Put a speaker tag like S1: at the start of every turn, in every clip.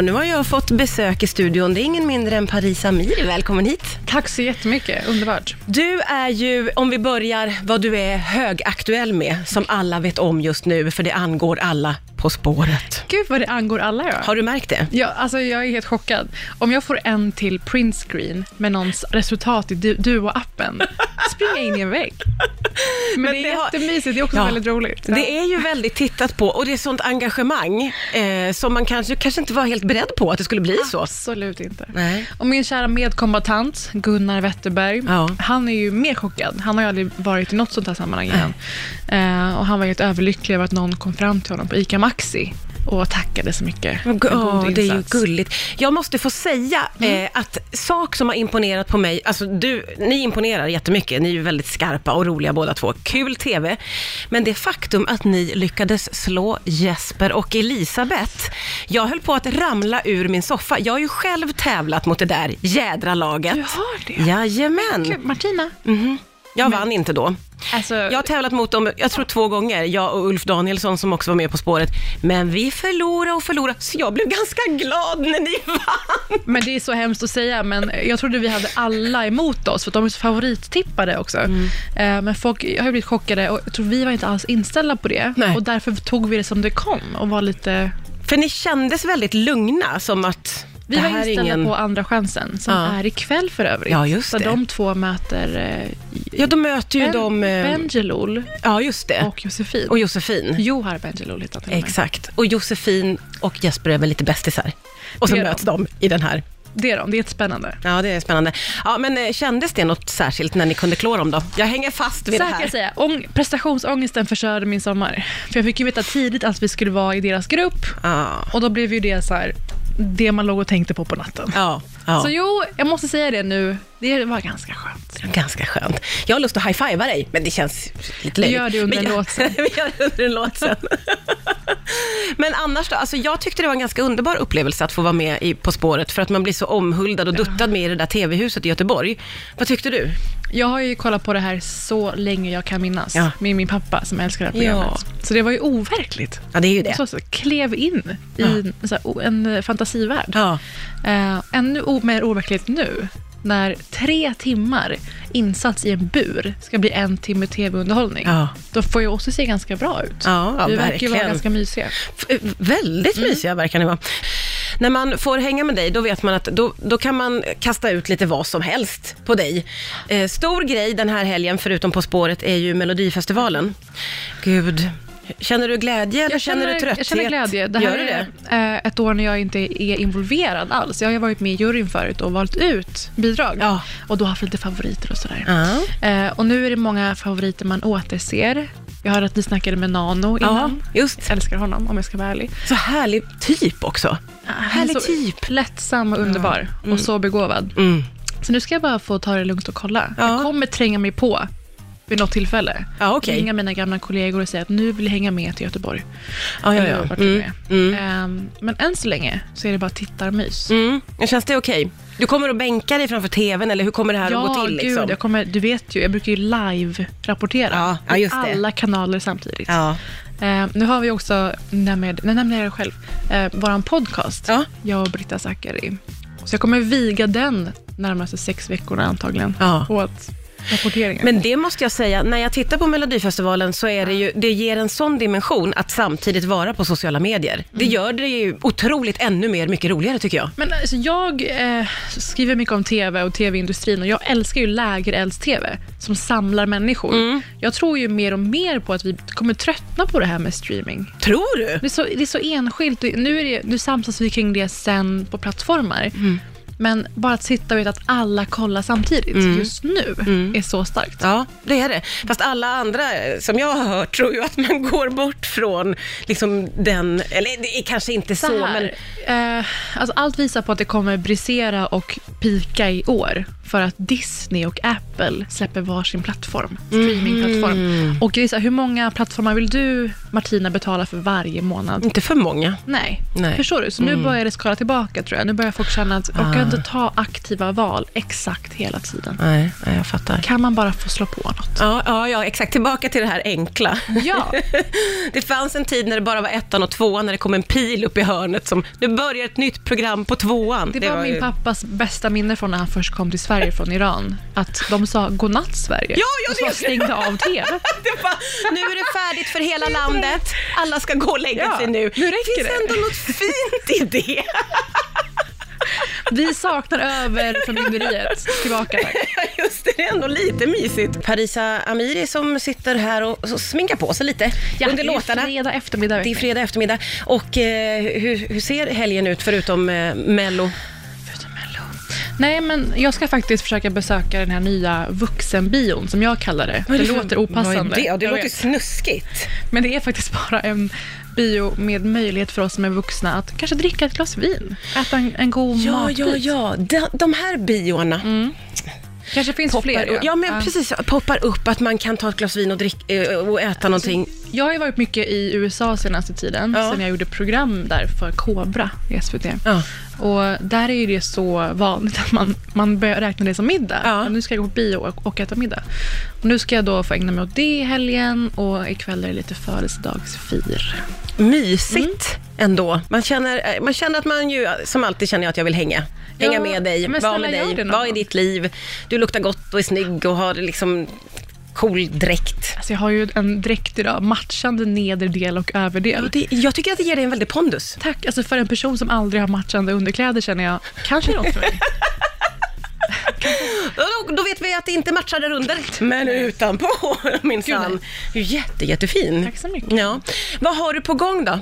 S1: Och nu har jag fått besök i studion. Det är ingen mindre än Paris Amiri. Välkommen hit.
S2: Tack så jättemycket, underbart.
S1: Du är ju, om vi börjar, vad du är högaktuell med, som alla vet om just nu, för det angår alla På spåret.
S2: Gud vad det angår alla ja.
S1: Har du märkt det?
S2: Ja, alltså jag är helt chockad. Om jag får en till printscreen med någons resultat i du- Duo-appen, springer jag in i en vägg. Men,
S1: Men
S2: det
S1: det
S2: är
S1: har-
S2: jättemysigt, det är också
S1: Ja.
S2: väldigt roligt.
S1: Det är ju väldigt tittat på och det är sånt engagemang eh, som man kanske, kanske inte var helt beredd på att det skulle bli så.
S2: Absolut inte.
S1: Nej.
S2: Och min kära medkombatant Gunnar Wetterberg,
S1: Ja.
S2: han är ju mer chockad. Han har ju aldrig varit i något sånt här sammanhang innan. Eh, och han var helt överlycklig över att någon kom fram till honom på ICA Maxi och tackade så mycket.
S1: Ja,
S2: för god
S1: det är ju
S2: insats.
S1: gulligt. Jag måste få säga eh, att sak som har imponerat på mig, alltså du, ni imponerar jättemycket, ni är ju väldigt skarpa och roliga båda två. Kul TV. Men det faktum att ni lyckades slå Jesper och Elisabeth. Jag höll på att ramla ur min soffa. Jag har ju själv tävlat mot det där jädra laget.
S2: Du har det? Gud,
S1: Jajamän.
S2: Martina,
S1: Jag vann inte då.
S2: alltså,
S1: Jag har tävlat mot dem, jag tror två gånger, jag och Ulf Danielsson som också var med På spåret. Men vi förlorade och förlorade, så jag blev ganska glad när ni vann.
S2: men det är så hemskt att säga, men jag trodde vi hade alla emot oss, för de är så favorittippade också.
S1: Mm.
S2: Eh, Men folk har ju blivit chockade och jag tror vi var inte alls inställda på det.
S1: Nej.
S2: Och därför tog vi det som det kom och var lite...
S1: För ni kändes väldigt lugna, som att
S2: Vi
S1: det
S2: var
S1: här är
S2: inställda
S1: ingen...
S2: på Andra chansen, som
S1: Ja.
S2: är ikväll för övrigt.
S1: Ja, just
S2: där
S1: det.
S2: de två möter eh,
S1: Ja, de möter ju
S2: ben,
S1: de... eh,
S2: Benjelol
S1: Ja, just det.
S2: och Josefin.
S1: Och Josefin.
S2: Johar Benjelol heter han till och med.
S1: Exakt. Och Josefin och Jesper är väl lite bästisar. Och så
S2: Det är
S1: möts de i den här.
S2: Det är de, det är ett spännande.
S1: Ja, det är spännande. Ja, men eh, kändes det något särskilt när ni kunde klå dem då? Jag hänger fast vid det
S2: Så här kan
S1: här.
S2: jag säga, ång- prestationsångesten förstörde min sommar. För jag fick ju veta tidigt att vi skulle vara i deras grupp
S1: Ja,
S2: och då blev ju det så här, det man låg och tänkte på på natten.
S1: ja, ja.
S2: Så jo, jag måste säga det nu, det var ganska skönt.
S1: Ganska skönt. Jag har lust att high-fiva dig, men det känns lite löjligt.
S2: gör det under
S1: Men
S2: en
S1: jag-
S2: låt sen.
S1: Vi gör det under en låt sen. men annars då? Alltså jag tyckte det var en ganska underbar upplevelse att få vara med i På spåret, för att man blir så omhuldad och duttad med i det där TV-huset i Göteborg. Vad tyckte du?
S2: Jag har ju kollat på det här så länge jag kan minnas,
S1: Ja.
S2: med min pappa som älskar det här programmet. Så det var ju overkligt.
S1: Ja, det är ju det.
S2: Så, så klev in i en, så här, o- en eh, fantasivärld.
S1: Ja.
S2: Eh, ännu o- mer overkligt nu, när tre timmar insats i en bur ska bli en timme tv-underhållning.
S1: Ja.
S2: Då får ju också se ganska bra ut.
S1: Ja, ja,
S2: Vi verkar ju vara
S1: verkligen.
S2: ganska mysiga.
S1: F- eh, Väldigt
S2: Mm.
S1: mysiga verkar ni vara. När man får hänga med dig, då vet man att då, då kan man kasta ut lite vad som helst på dig. Eh, stor grej den här helgen, förutom På spåret, är ju Melodifestivalen. Gud, känner du glädje eller känner, du trötthet?
S2: jag känner glädje. Det här
S1: Gör du det?
S2: är eh, ett år när jag inte är involverad alls. Jag har ju varit med i juryn förut och valt ut bidrag.
S1: Ja.
S2: Och då haft lite favoriter och sådär.
S1: Ja.
S2: Eh, och nu är det många favoriter man återser. Jag hörde att ni snackade med Nano innan.
S1: Ja, just.
S2: Jag älskar honom om jag ska vara ärlig.
S1: Så härlig typ också.
S2: Han är
S1: härlig
S2: så
S1: typ.
S2: lättsam och underbar och så begåvad.
S1: Mm.
S2: Så nu ska jag bara få ta det lugnt och kolla.
S1: Ja.
S2: Jag kommer tränga mig på vid något tillfälle.
S1: Ja, okej.
S2: Ringa mina gamla kollegor och säga att nu vill jag hänga med till Göteborg.
S1: Ja, ja,
S2: Eller
S1: ja.
S2: vart det nu
S1: Mm.
S2: är.
S1: Mm.
S2: Ehm, men än så länge så är det bara tittarmys.
S1: Mm. Känns det okej? Du kommer att bänka dig framför TVn eller hur kommer det här att gå till? Liksom?
S2: gud, jag kommer, du vet ju, jag brukar ju live-rapportera
S1: Ja, ja,
S2: i
S1: just det.
S2: alla kanaler samtidigt.
S1: Ja.
S2: Ehm, nu har vi också, nämligen, nej, nämligen jag själv, eh, vår podcast,
S1: Ja.
S2: jag och Britta Zackari. Så jag kommer viga den närmaste sex veckorna antagligen
S1: Ja.
S2: åt rapporteringen.
S1: Men det måste jag säga, när jag tittar på Melodifestivalen så är det ju, det ger en sån dimension att samtidigt vara på sociala medier. Det
S2: Mm.
S1: gör det ju otroligt ännu mer, mycket roligare tycker jag.
S2: Men alltså, jag eh, skriver mycket om tv och tv-industrin och jag älskar ju lägerelds-tv som samlar människor.
S1: Mm.
S2: Jag tror ju mer och mer på att vi kommer tröttna på det här med streaming.
S1: Tror du?
S2: Det är så, det är så enskilt. och Nu, är det, nu samsas vi kring det sen på plattformar.
S1: Mm.
S2: Men bara att sitta och veta att alla kollar samtidigt
S1: Mm.
S2: just nu är så starkt.
S1: Ja, det är det. Fast alla andra eh, som jag har hört tror ju att man går bort från liksom den, eller det är kanske inte så,
S2: Så
S1: men
S2: här, eh, alltså allt visar på att det kommer brisera och pika i år för att Disney och
S1: Mm.
S2: Apple släpper varsin plattform, streamingplattform. Och det är så här, hur många plattformar vill du Martina betalar för varje månad.
S1: Inte för många.
S2: Nej.
S1: Nej. Mm.
S2: Förstår du? Så nu börjar det skala tillbaka tror jag. Nu börjar folk känna att jag kan inte
S1: Ah.
S2: ta aktiva val exakt hela tiden.
S1: Nej, nej, jag fattar.
S2: Kan man bara få slå på något?
S1: Ja, ja, ja, exakt. Tillbaka till det här enkla.
S2: Ja.
S1: det fanns en tid när det bara var ettan och tvåan, när det kom en pil upp i hörnet som nu börjar ett nytt program på tvåan.
S2: Det, var,
S1: ju-
S2: min pappas bästa minne från när han först kom till Sverige från Iran. Att de sa godnatt
S1: Ja,
S2: Sverige.
S1: ja,
S2: och så
S1: det-
S2: stängde av tv.
S1: Det var, nu är det färdigt för hela landet. Alla ska gå och lägga
S2: Ja,
S1: sig nu.
S2: nu räcker
S1: det finns
S2: det.
S1: ändå något fint i det.
S2: Vi saknar över förmynderiet. Tillbaka tack.
S1: Just det, det är ändå lite mysigt. Parisa Amiri som sitter här och och sminkar på sig lite under
S2: det är
S1: låtarna.
S2: fredag eftermiddag.
S1: Det är fredag eftermiddag. Och eh, hur, hur ser helgen ut förutom eh, Mello?
S2: Förutom Mello. Nej, men jag ska faktiskt försöka besöka den här nya vuxenbion, som jag kallar det. Det, låter opassande.
S1: Vad är det? Det
S2: jag
S1: låter
S2: vet.
S1: snuskigt.
S2: Men det är faktiskt bara en bio med möjlighet för oss som är vuxna att kanske dricka ett glas vin, äta en, en god
S1: Ja,
S2: matbit.
S1: ja, ja. De, de här bioarna.
S2: Kanske finns fler.
S1: Poppar, ja, men
S2: Mm, Ja.
S1: precis. Poppar upp att man kan ta ett glas vin och, drick, eh, och
S2: Alltså,
S1: äta någonting.
S2: Jag har ju varit mycket i USA senaste tiden,
S1: Ja.
S2: sen jag gjorde program där för Kobra i SVT.
S1: Ja.
S2: Och där är ju det så vanligt att man, man börjar räkna det som middag.
S1: Ja.
S2: Men Nu ska jag gå på bio och, och äta middag. Och nu ska jag då få ägna mig åt det i helgen och ikväll är det lite födelsedagsfir.
S1: mysigt
S2: Mm.
S1: ändå. Man känner, eh, man känner att man ju, som alltid känner jag att jag vill hänga. Hänga
S2: Ja,
S1: med dig,
S2: men
S1: vara
S2: snälla,
S1: med
S2: gör
S1: dig,
S2: det någon
S1: vara i
S2: gång.
S1: ditt liv. Du luktar gott och är snygg och har liksom cool dräkt.
S2: Alltså jag har ju en dräkt idag, matchande nederdel och överdel.
S1: Det, jag tycker att det ger dig en väldig pondus.
S2: Tack, alltså för en person som aldrig har matchande underkläder känner jag, kanske är något för mig.
S1: Då, då vet vi att det inte matchar där under. Men utanpå minsann.
S2: Gud,
S1: Du är jätte, jättefin.
S2: Tack så mycket.
S1: Ja. Vad har du på gång då?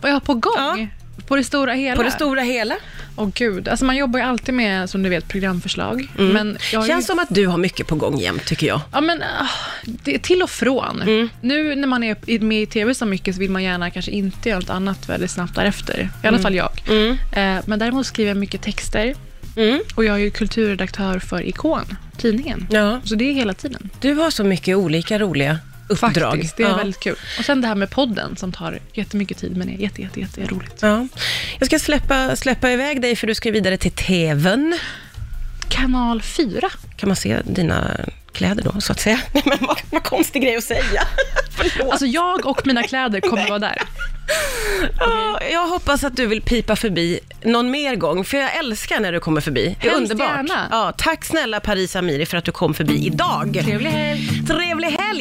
S2: Vad jag har på gång?
S1: Ja.
S2: På det stora hela?
S1: På det stora hela?
S2: Åh gud, alltså man jobbar ju alltid med, som du vet, programförslag. Men jag har ju-
S1: Mm. Känns som att du har mycket på gång jämt tycker jag.
S2: Ja, men ah, det är till och från.
S1: Mm.
S2: Nu när man är i- med i tv så mycket så vill man gärna kanske inte göra något annat väldigt snabbt därefter. I alla fall jag. Eh, men däremot skriver jag mycket texter
S1: Mm.
S2: och jag är ju kulturredaktör för Ikon, tidningen.
S1: Ja.
S2: Så det är hela tiden.
S1: Du har så mycket olika roliga uppdrag.
S2: Faktiskt, det är
S1: Ja.
S2: väldigt kul. Och sen det här med podden som tar jättemycket tid men är jätte, jätte, jätte roligt.
S1: Ja. Jag ska släppa, släppa iväg dig för du ska vidare till TVn.
S2: Kanal 4.
S1: Kan man se dina kläder då, så att säga? Men vad, vad konstig grej att säga. Förlåt.
S2: Alltså jag och mina kläder kommer vara där.
S1: Ja, jag hoppas att du vill pipa förbi någon mer gång, för jag älskar när du kommer förbi. Det är
S2: Hemskt
S1: underbart.
S2: gärna.
S1: Ja, tack snälla Paris Amiri för att du kom förbi idag.
S2: Trevlig helg!
S1: Trevlig helg!